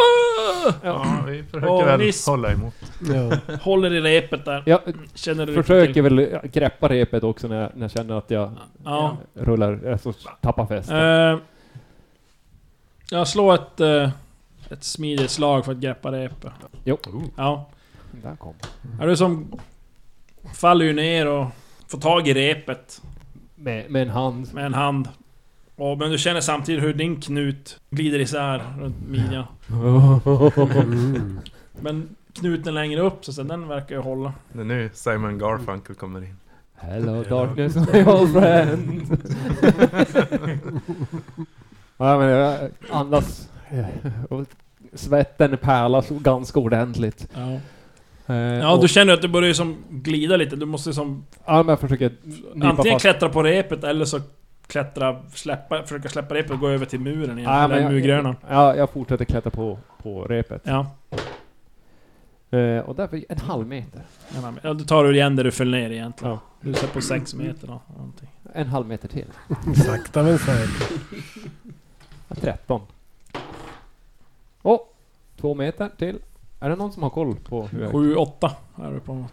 Ja, vi försöker Åh, väl visp. hålla emot. Ja. Håller i repet där. Jag Känner du försöker väl eh, greppa repet också när jag, när jag känner att jag Ja. rullar, alltså tappar fästet. Eh, jag slår ett, eh, ett smidigt slag för att greppa repet. Jo. Ja. Där kom. Är du som faller ju ner och får tag i repet Med, med en hand. med en hand. Och, men du känner samtidigt hur din knut glider isär runt midjan. Mm. Men knuten längre upp, så, så den verkar ju hålla. Det är nu Simon Garfunkel kommer in. Hello darkness my old friend. ja, men jag andas och svetten pärlar så ganska ordentligt. Ja. Eh, ja, och, du känner att du börjar ju som glida lite. Du måste som ja, men jag försöker nypa antingen fast. klättra på repet eller så klättra, släppa, försöka släppa repet och gå över till muren igen. Ja, men eller murgrönan. Ja, jag fortsätter klättra på, på repet. Ja. Eh, och därför en halv meter. Ja, du tar du igen där du föll ner egentligen. Ja. Du ser på 6 meter då, någonting. En halv meter till. Sakta men säkert. 13. Och två meter till. Är det någon som har koll på hur jag... 7, 8 är du på.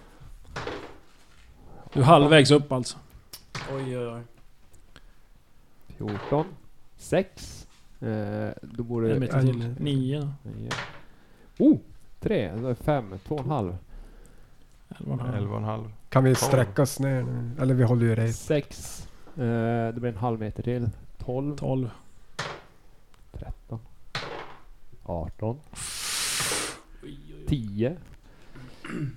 Du är halvvägs upp alltså. Oj, oj, oj. 14. 6. Eh, då borde En det... meter till. 9, Nio. Oh! Tre, då är fem, två och en halv. 11 Elva och en halv. Kan vi sträcka oss ner nu? Eller vi håller ju rejält. Sex. Eh, det blir en halv meter till. Tolv. 12. Tretton. Arton. Tio. Nu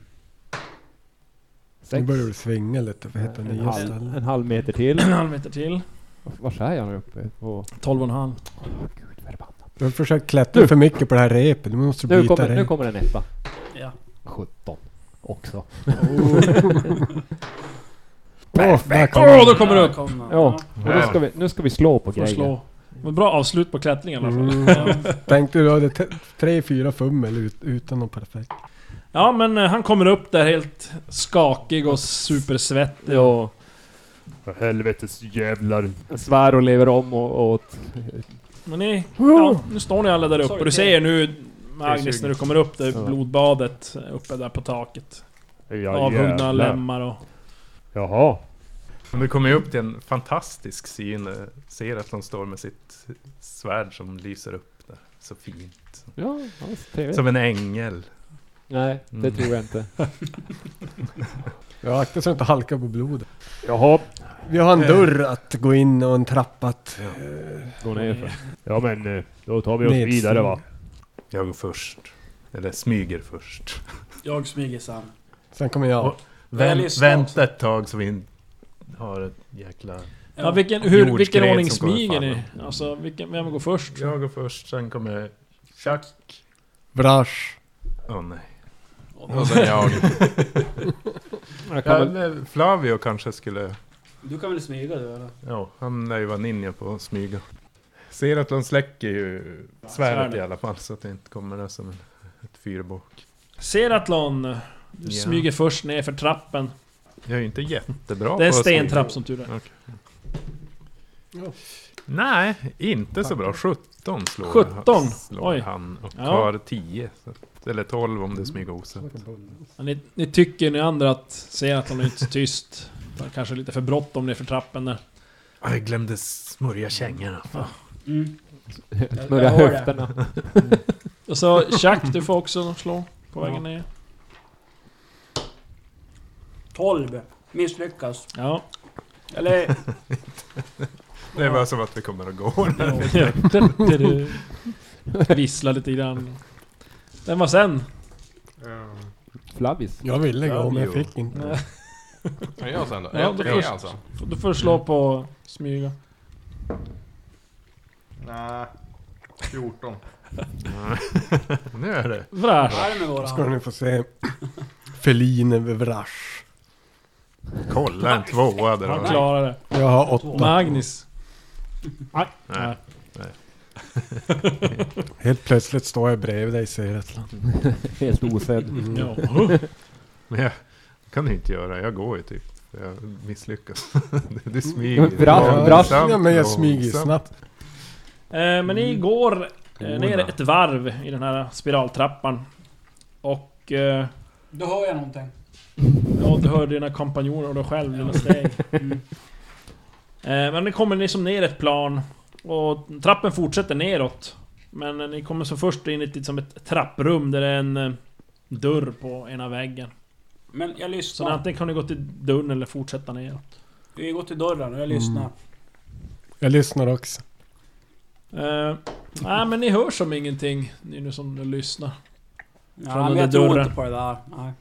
Sex. börjar du svinga lite för att hitta En nya halv, ställen. en halv meter till. En halv meter till. Var är jag nu uppe? På... 12 och en halv. Åh, gud förbannat. Du har försökt klättra för mycket på det här repet. Nu måste du Nu byta kommer, nu rep. kommer en etta. Ja. 17. Också. Oh. Åh, där kom Åh, då den. kommer du Där upp! kom den. Ja, och då ska vi, nu ska vi slå på Får grejer. slå. Men bra avslut på klättringen i alla fall. Mm. Tänkte du hade t- tre, fyra fummel ut, utan något perfekt. Ja men eh, han kommer upp där helt skakig och supersvettig. Ja. För helvetes jävlar. Svär och lever om och, och Men ni, ja, nu står ni alla där uppe Sorry, och du det- ser nu Magnus när du kommer upp där, Ja. blodbadet uppe där på taket. Ja, Avhuggna lemmar och... Jaha. Men du kommer ju upp till en fantastisk syn. eh, Ser att de står med sitt svärd som lyser upp där. Så fint. Ja, ja, så trevligt. Som en ängel. Nej, det Mm. tror jag inte. Jag akta så jag inte halkar på blodet. Jaha. Vi har en Eh. dörr att gå in och en trappa att... Gå ner för. Ja men, eh, då tar vi oss Nedsteg. vidare, va? Jag går först. Eller smyger först. Jag smyger sen. Sen kommer jag. Väl Vänt, i start. vänta ett tag så vi in- har ett jäkla... Ja, vilken, hur, Jordskred vilken ordning som kommer smyger ni? falla. Alltså, vilken, vem går först? Jag går först, sen kommer Chuck. Brasch. Åh nej. Och sen jag. Jag kan Ja, väl, eller Flavio kanske skulle... Du kan väl smyga du eller? Ja, han är ju vad ninja på att smyga. Ser att de släcker ju svärdet svärdet. i alla fall så att det inte kommer där som en- ett fyrbåk. Seratlon, du Ja. smyger först ner för trappen. Jag är ju inte jättebra Det är en på att smyga. stentrapp som tur är. Nej, inte så bra. 17 slår 17? Han, slår Oj. han och Ja. tar 10. Så att, eller 12 om det smyger osett. Ja, Ni, ni tycker ni andra att Seratlon är inte så tyst. Det var kanske lite för bråttom ner för trappen där. Ah, Jag glömde smörja kängorna. Mm. Jag- smörja jag hör det. höfterna. Och så Chuck, du får också slå på vägen ner. 12. Misslyckas. Ja. Eller... Det var som att vi kommer att gå. Vissla lite grann. Den var sen. Flabbis. Jag ville gå men jag Jo. fick inte. Är det jag sen då? Ja, Är då det först. jag alltså? F- Du får slå på smyga. Nej. 14. Nu är det. Vräsch. Vad är det med våra... Ska ni få se. Felin över Vrash. Kolla en tvåa där. Han då. klarar det. Jag har åtta. Magnus. Nej. Nej. Helt plötsligt står jag bredvid dig Seretland. Helt Mm. osedd. Ja. Men jag kan ju inte göra. Jag går ju typ. Jag misslyckas. Du Ja, smyger. men bra, Ja, bra. Långsamt, ja, men jag smyger ju långsamt. snabbt. Eh, Men ni går eh, ner ett varv i den här spiraltrappan. Och... Eh, Då hör jag någonting. Ja, du hör dina kompanjoner och dig själv, dina steg. Eh, Men ni kommer liksom ner ett plan och trappen fortsätter neråt. Men eh, ni kommer så först in i ett, liksom ett trapprum där det är en eh, dörr på ena väggen. Men jag Så lyssnar. antingen kan ni gå till dörren eller fortsätta neråt. Vi går till dörren och jag lyssnar. Mm. Jag lyssnar också. Eh, nej men ni hör som ingenting, ni nu som lyssnar. Ja, Från men under jag tror dörren. inte på det där. Nej.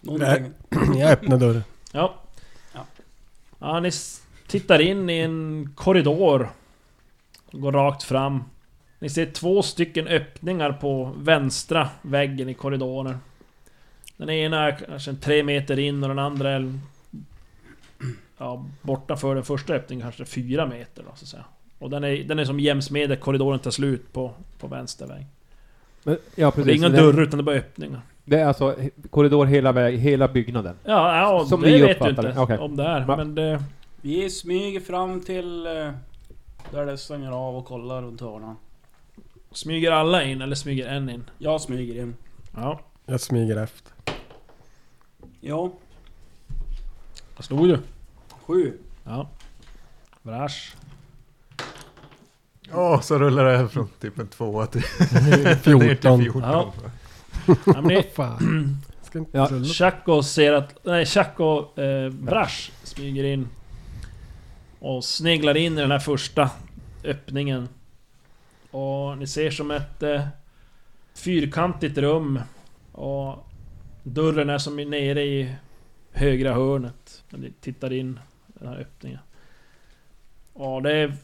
Någonting. Jag öppnar dörren. Ja. Ja. Ja, ni s- tittar in i en korridor. Går rakt fram. Ni ser två stycken öppningar på vänstra väggen i korridoren. Den ena är kanske en tre meter in och den andra är... Ja, bortanför den första öppningen kanske fyra meter då, så att säga. Och den är, den är som jäms med där korridoren tar slut på, på vänster väg. Men, ja, Och precis. det är inga Det- dörrar utan det är bara öppningar. Det är alltså he- korridor hela, väg, hela byggnaden. Ja, ja Som det ni vet du uppfattar inte det, okej. om det är. Va? Men det... Vi smyger fram till... eh, Där det stänger av och kollar runt hörnan. Smyger alla in eller smyger en in? Jag smyger in. Ja, Jag smyger efter. Ja, jag slog ju. sju. Ja. Brash. Ja, så rullar det här från typ en tvåa till ner till 14. 14. Ja. Ja, men ni, Fan. Ska inte Ja. rulla. Chaco ser att... Nej, Chaco eh, Brash smyger in. Och sneglar in i den här första öppningen. Och ni ser som ett eh, fyrkantigt rum. Och dörren är som är nere i högra hörnet. När ni tittar in i den här öppningen. Och det är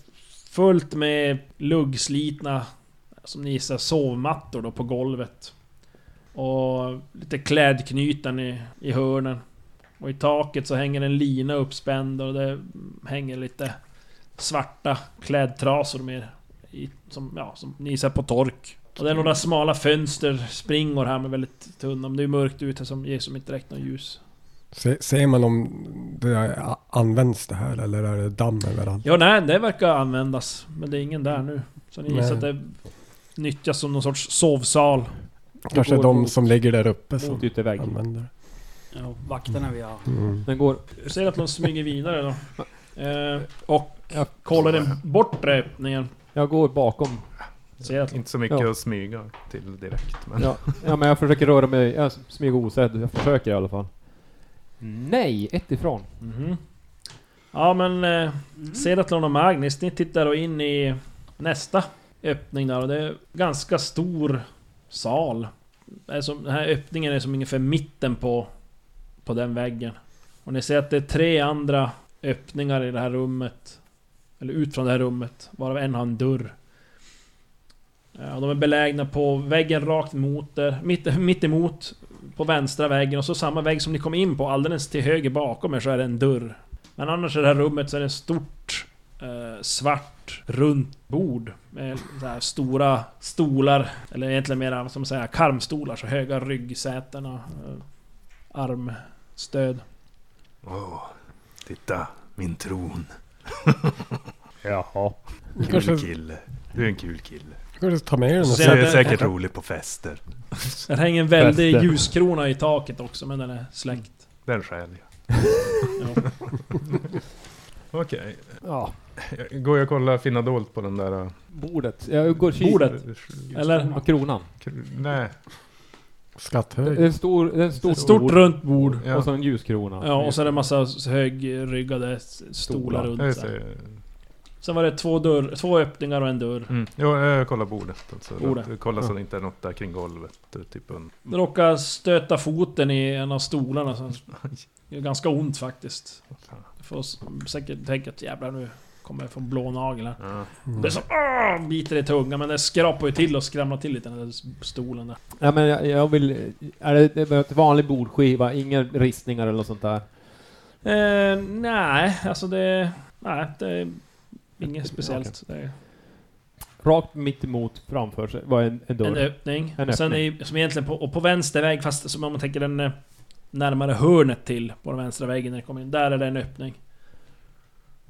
fullt med luggslitna, som ni gissar, sovmattor då på golvet. Och lite klädknyten i, i hörnen. Och i taket så hänger en lina uppspänd och det hänger lite svarta klädtrasor mer. I, som, ja, som ni ser på tork. Och det är några smala fönster, springor här med väldigt tunna. Men det är mörkt ute som ger som inte direkt något ljus. Se, ser man om det där används det här eller är det damm överallt? Ja, nej, det verkar användas. Men det är ingen där nu. Så ni gissar Nej. att det nyttjas som någon sorts sovsal. Kanske går de mot- som ligger där uppe som Mot ytterväggen. använder det. Ja, vakterna vi har. Den går... Du ser att de smyger vidare då. Eh, och kollar den bortre öppningen. Jag går bakom. Ser att Inte så mycket Ja. att smyga till direkt. Men Ja, ja, men jag försöker röra mig. Jag smyger osedd. Jag försöker i alla fall. Nej, ett ifrån. Mhm. Ja men... Eh, Sedatlon och Magnus, ni tittar då in i nästa öppning där och det är ganska stor sal. Det är som- Den här öppningen är som ungefär mitten på, på den väggen. Och ni ser att det är tre andra öppningar i det här rummet. Eller ut från det här rummet, varav en har en dörr. Eh, Och de är belägna på väggen rakt mot er, mitt, mitt emot på vänstra väggen och så samma vägg som ni kom in på alldeles till höger bakom er så är det en dörr. Men annars i det här rummet så är det ett stort eh, svart runt bord med så här stora stolar, eller egentligen mera vad ska man säga, karmstolar, så höga ryggsäten och eh, armstöd. Åh, titta, min tron. Jaha. Kul Kanske- kille. Du är en kul kille. Kanske ta med den och Du Ser se. jag- är säkert rolig på fester. Det hänger en väldig Fäste. ljuskrona i taket också, men den är släckt. Den stjäl jag. Ja. Okej. Ja, Går jag och kollar finna dolt på den där... eh, bordet. Jag går och kikar. Bordet, eller? Och kronan. Nej. Det Skatthöjd. är en stor, det är en stor Ett stort bord runt bord. Ja. och så en ljuskrona. Ja, och så är det en massa högryggade s- stolar Ja, runt. just Där. det. Sen var det två, dörr, två öppningar och en dörr. Mm. Jo, jag kollar bordet. Alltså. Bordet. Jag kollar så det inte är något där kring golvet. Typ en... Det råkade stöta foten i en av stolarna. Så det är ganska ont faktiskt. Jag får s- säkert tänka att jävlar nu kommer jag få en blå nagel här. Ja. Det är som ah, biter i tungan men det skrapar ju till och skramlar till lite den där s- stolen där. Ja, men jag, jag vill... Är det, det är ett vanlig bordskiva? Inga ristningar eller något sånt där? Eh, nej, alltså det... Nej, det är inget speciellt. Det är Rakt mitt emot framför sig var en, en en dörr. öppning. En Sen är, som egentligen på, och på vänster väg, fast som om man tänker den eh, närmare hörnet till på den vänstra vägen när det kommer in. Där är det en öppning.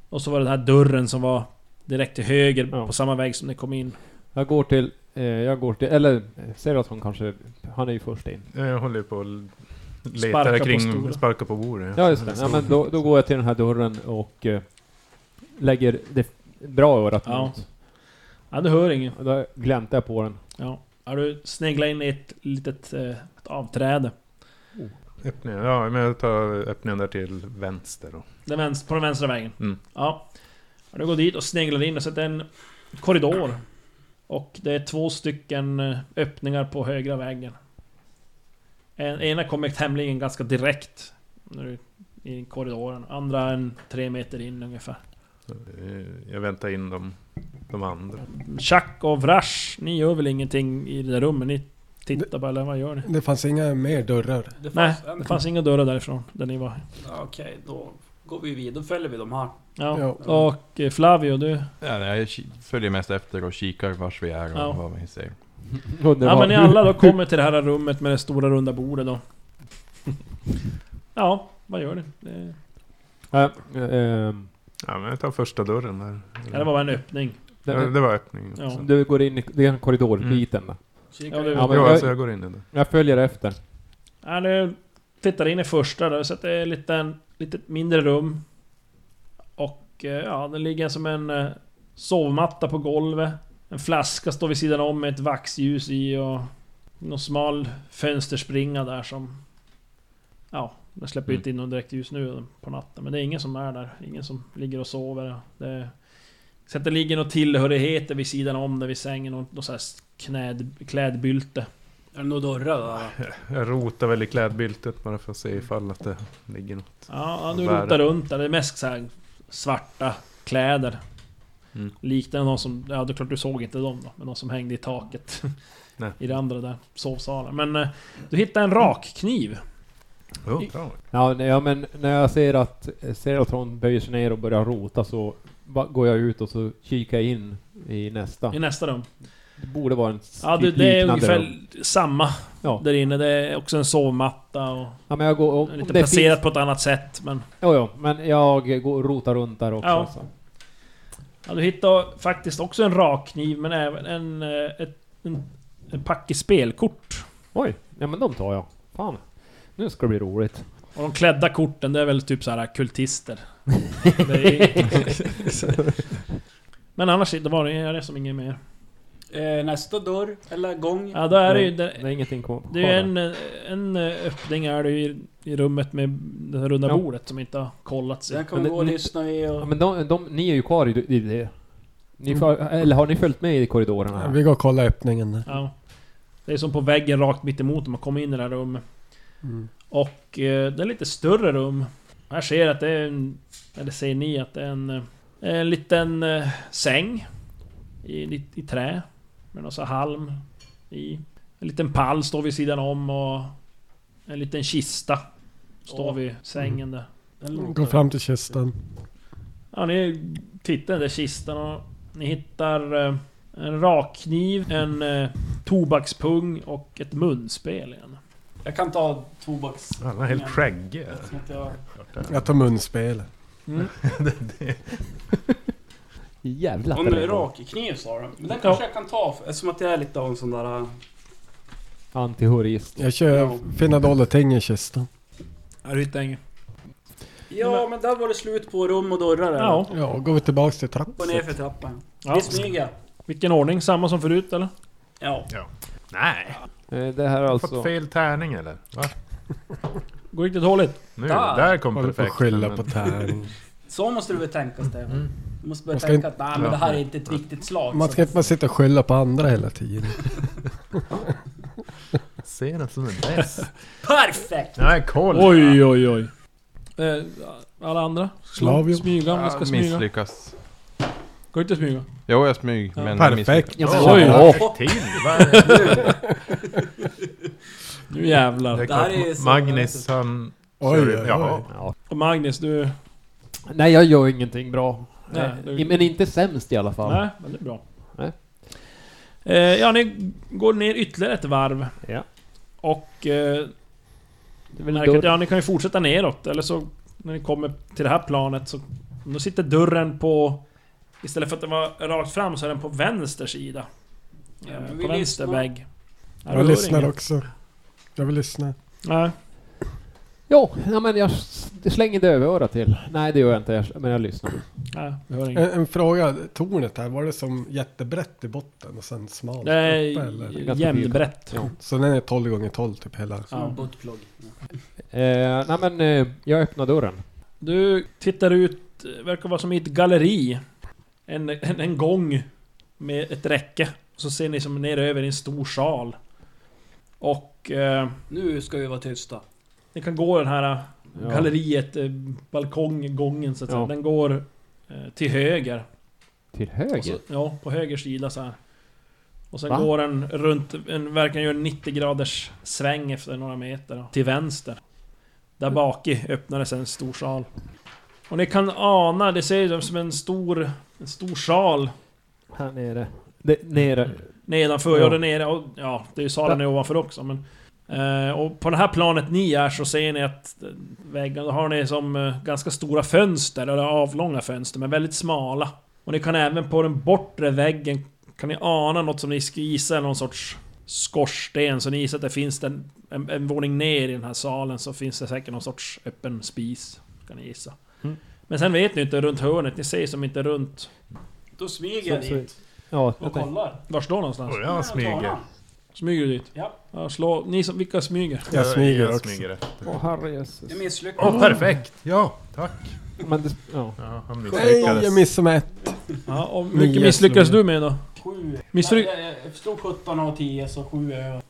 Och så var det den här dörren som var direkt till höger Ja. på samma väg som ni kom in. Jag går till... Eh, jag går till... Eller eh, Seraton kanske... Han är ju först in. Jag håller ju på och letar Sparka på kring... stolen. sparkar på bordet. Ja, just det. Ja, men då, då går jag till den här dörren och eh, lägger det bra örat Ja. mot. Ja, du hör ingen. Och då gläntar jag på den. Ja. Ja, du sneglar in i ett litet eh, ett avträde. Öppningen. Ja, men jag tar öppningen där till vänster då. Den vänster, på den vänstra vägen. Mm. Ja. Och Du går dit och sneglar in och så är det en korridor. Och det är två stycken eh, öppningar på högra vägen. En, ena kommer tämligen ganska direkt. När du, I korridoren. Andra en tre meter in ungefär. Eh, Jag väntar in de, de andra. Chuck och Vrash, ni gör väl ingenting i det där rummet? Ni tittar bara, eller vad gör ni? Det fanns inga mer dörrar. Det Nej, fanns en. det fanns inga dörrar därifrån. Där ni var. Ja, Okej, då går vi vidare. Då följer vi de här. Ja. Ja. Och eh, Flavio, du... Ja, nej, jag ki- följer mest efter och kikar vars vi är och Ja. vad vi ser. Underbar. Ja men ni alla då kommer till det här rummet med det stora runda bordet då. Ja, vad gör ni? Det, Ja, ehm, Ja, men jag tar första dörren där. ja, det var bara en öppning. Ja, det, den, var öppningen. Ja. Så. du går in i den korridorbiten. där. Kika Ja, det- in. Ja, men Ja, jag, alltså jag går in i den. jag följer efter. Ja, nu tittar in i första där, så att det är lite, lite mindre rum. Och eh, ja, det ligger som en eh, sovmatta på golvet. En flaska står vid sidan om med ett vaxljus i och någon smal fönsterspringa där som... Ja, den släpper ju inte in någon direkt ljus nu på natten. Men det är ingen som är där. Ingen som ligger och sover. Det är, så att det ligger några tillhörigheter vid sidan om där vid sängen. Och något så här knäd, klädbylte. Är det några dörrar där? Jag rotar väl i klädbyltet bara för att se ifall att det ligger något. Ja, ja, du Värre. rotar runt där. Det är mest så här svarta kläder. Mm. Liknande de som... Ja, det är klart du såg inte dem då. Men de som hängde i taket. Nej. I det andra där sovsalen. Men eh, du hittar en rakkniv. Jo, bra. Ja, nej, ja, men när jag ser att Seraton böjer sig ner och börjar rota så ba- går jag ut och så kikar jag in i nästa. I nästa rum. Det borde vara en Ja, det, lik- det är liknande ungefär rum. samma Ja. där inne. Det är också en sovmatta och... Ja, men jag går... Om, om Lite det placerat finns, på ett annat sätt men... ja, ja, men jag går och rotar runt där också. Ja. Så. Ja, du hittar faktiskt också en rakkniv men även en... eh, Ett, en, en packe spelkort. Oj, ja men de tar jag. Fan. Nu ska det bli roligt. Och de klädda korten, det är väl typ så här kultister. Det är- Men annars det var det, är det som inget mer. Eh, nästa dörr, eller gång. Ja, då är det ju... Det är Det, ingenting kvar. det är ju en, en eh, öppning är det ju i, i rummet med det här runda Ja. bordet som inte har kollats. Sen kan Men vi det- gå och ni- lyssna i och... Ja, men de, de, ni är ju kvar i, i det. Ni för, Eller har ni följt med i korridorerna? Här? Vi går och kollar öppningen där. Ja. Det är som på väggen rakt mitt emot när man kommer in i det här rummet. Mm. Och eh, det är lite större rum. Här ser jag att det är en... Eller ser ni att det är en... eh, En liten eh, säng. I, i, i trä. Med någon sån här halm i. En liten pall står vid sidan om och... En liten kista. Står Åh. vid sängen där. Den låter- Gå fram till kistan. Ja, ni tittar i den där kistan och ni hittar eh, en rakkniv, en eh, tobakspung och ett munspel igen. Jag kan ta tobaks... Alla är helt skäggiga. Som att jag- Jag tar munspel. Jävlar. Hon är rak kniv sa de. Men den kanske jag kan ta, för- eftersom att jag är lite av en sån där... äh, Antihurist. Jag kör Finnadolle-ting i kistan. Ja, du hittar ingen. Ja, men där var det slut på rum och dörrar. eller? Ja. Ja, och går vi tillbaks till Upp och ner trappan. för trappan. ja. Vi smyger. Vilken ordning? Samma som förut eller? Ja. Nej. Eh, Det här är Har fått alltså... fel tärning eller? Va? Går riktigt dåligt. Nu, Ah. där kom Håller på att perfekt. skylla på tärning. Så måste du väl tänka Stefan? Du måste börja Mm. Man ska tänka inte- att nej, men det här är inte ett viktigt slag. Man ska så. inte bara sitta och skylla på andra hela tiden. Ser den som en bäst. Perfekt! Nej, koll! Oj, oj, oj. Eh, alla andra? Slavio. Smyga om du ska Jag smyga. misslyckas. Går inte att smyga. Jo, jag smyg, men jag Perfekt. misslyckas. Ja, Oj. vad fick till! Vad är det? Nu Det är jävlar. klart, Det här är så- Magnus han... Oj, oj, oj. Jaha. Ja. Och Magnus, du... Nej, jag gör ingenting bra. Nej, Eh, du- Men inte sämst i alla fall. Nej, men det är bra. Nej. Eh, ja, ni går ner ytterligare ett varv. Ja. Och... Eh, Det är väl märker dörr- att, ja, ni kan ju fortsätta neråt, eller så... När ni kommer till det här planet så... Då sitter dörren på... Istället för att den var rakt fram så är den på vänster sida. Ja, men vi eh, på vänster lyssnar. vägg. Ja, du Jag hör lyssnar inget. också. Jag vill lyssna. Nej. Ja, ja, men jag s- slänger dövörat till. Nej, det gör jag inte. Jag, men jag lyssnar. Nej, vi hör inget. En, en fråga. Tornet här, var det som jättebrett i botten och sen smalt Nej, uppe eller? Ganska jämnbrett. Ja. Så den är 12 gånger 12 typ hela? Som en buttplug. Eh, nej, men eh, jag öppnar dörren. Du tittar ut, eh, verkar vara som i ett galleri. En, en, en gång med ett räcke. Så ser ni som ner över i en stor sal. Och eh, Nu ska vi vara tysta. ni kan gå den här eh, Ja. galleriet, eh, balkonggången så att Ja. säga. Den går eh, till höger. Till Och så, höger? ja, på höger sida så här. Och sen Va? går den runt, en, verkar göra en 90 graders sväng efter några meter. då, Till vänster. Där Mm. bak i öppnades en stor sal. Och ni kan ana, det ser ut som en stor, en stor sal Här nere. Det, nere. nedanför. Ja, Ja. där nere. Och, ja, det är ju salen är ovanför också men... Eh, och på det här planet ni är så ser ni att eh, väggarna har ni som eh, ganska stora fönster, eller avlånga fönster, men väldigt smala. Och ni kan även på den bortre väggen, kan ni ana något som ni skulle gissa är någon sorts skorsten, så ni gissar att det finns en, en, en våning ner i den här salen så finns det säkert någon sorts öppen spis, kan ni gissa. Mm. Men sen vet ni inte runt hörnet, ni ser som inte runt... Då smyger jag Så- så- dit Ja, jag och tänkte- kollar. Var står någonstans? Och jag smyger. Smyger du dit? Ja. ja slå, ni som, vilka smyger? Jag smyger jag också. smyger efter. Åh, herrejösses. Jag misslyckas. Åh, perfekt! Ja, tack. Men det... Ja. Ja, han Nej, jag misslyckades. missade med ett. Ja, och hur Nio mycket misslyckades slog. du med då? Sju. Misslyck- Nej, jag- Jag stod 17 av 10 så 7 är jag.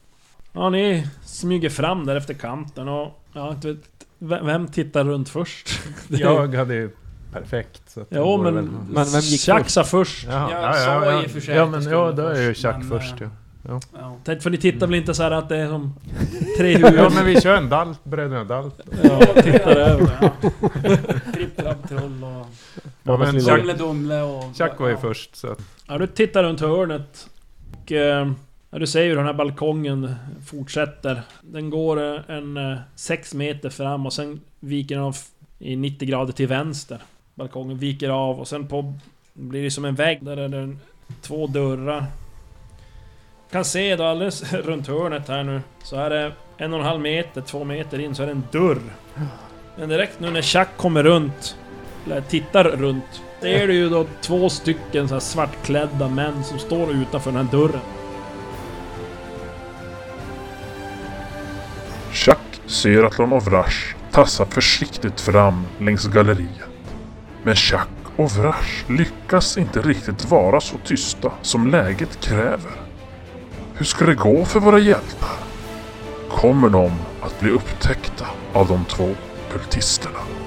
Ja, ni smyger fram där efter kanten och... Ja, inte vet, vem vem tittar runt först? Jag hade ju perfekt. Så att det Ja, vore men... väl- Men vem gick Tjaxa först. Ja, Jag ja, sa ja, i och för sig Ja, att men jag ja, skulle då är ju först, Chuck men, först eh, ju. Ja. Tänk, För ni tittar väl inte så här att det är som tre huvuden? Ja, men vi kör en Dalt, bröderna Dalt. Ja, tittar över. Tripp, trapp, troll och... Ja, men Chuck- Chuck, Dumle, dumle och... Chuck var ju Ja. först så att... Ja, du tittar runt hörnet och... eh, Ja, du ser ju hur den här balkongen fortsätter. Den går eh, en eh, sex meter fram och sen viker den av i 90 grader till vänster. Balkongen viker av och sen på... Blir det som en vägg där är det en- två dörrar. Kan se då alldeles runt hörnet här nu så är det en och en halv meter, två meter in så är det en dörr. Men direkt nu när Chuck kommer runt, eller tittar runt, ser du ju då två stycken så här svartklädda män som står utanför den här dörren. Chuck ser att Lon och Vrash tassar försiktigt fram längs galleriet. Men Chuck och Vrash lyckas inte riktigt vara så tysta som läget kräver. Hur ska det gå för våra hjältar? Kommer de att bli upptäckta av de två kultisterna?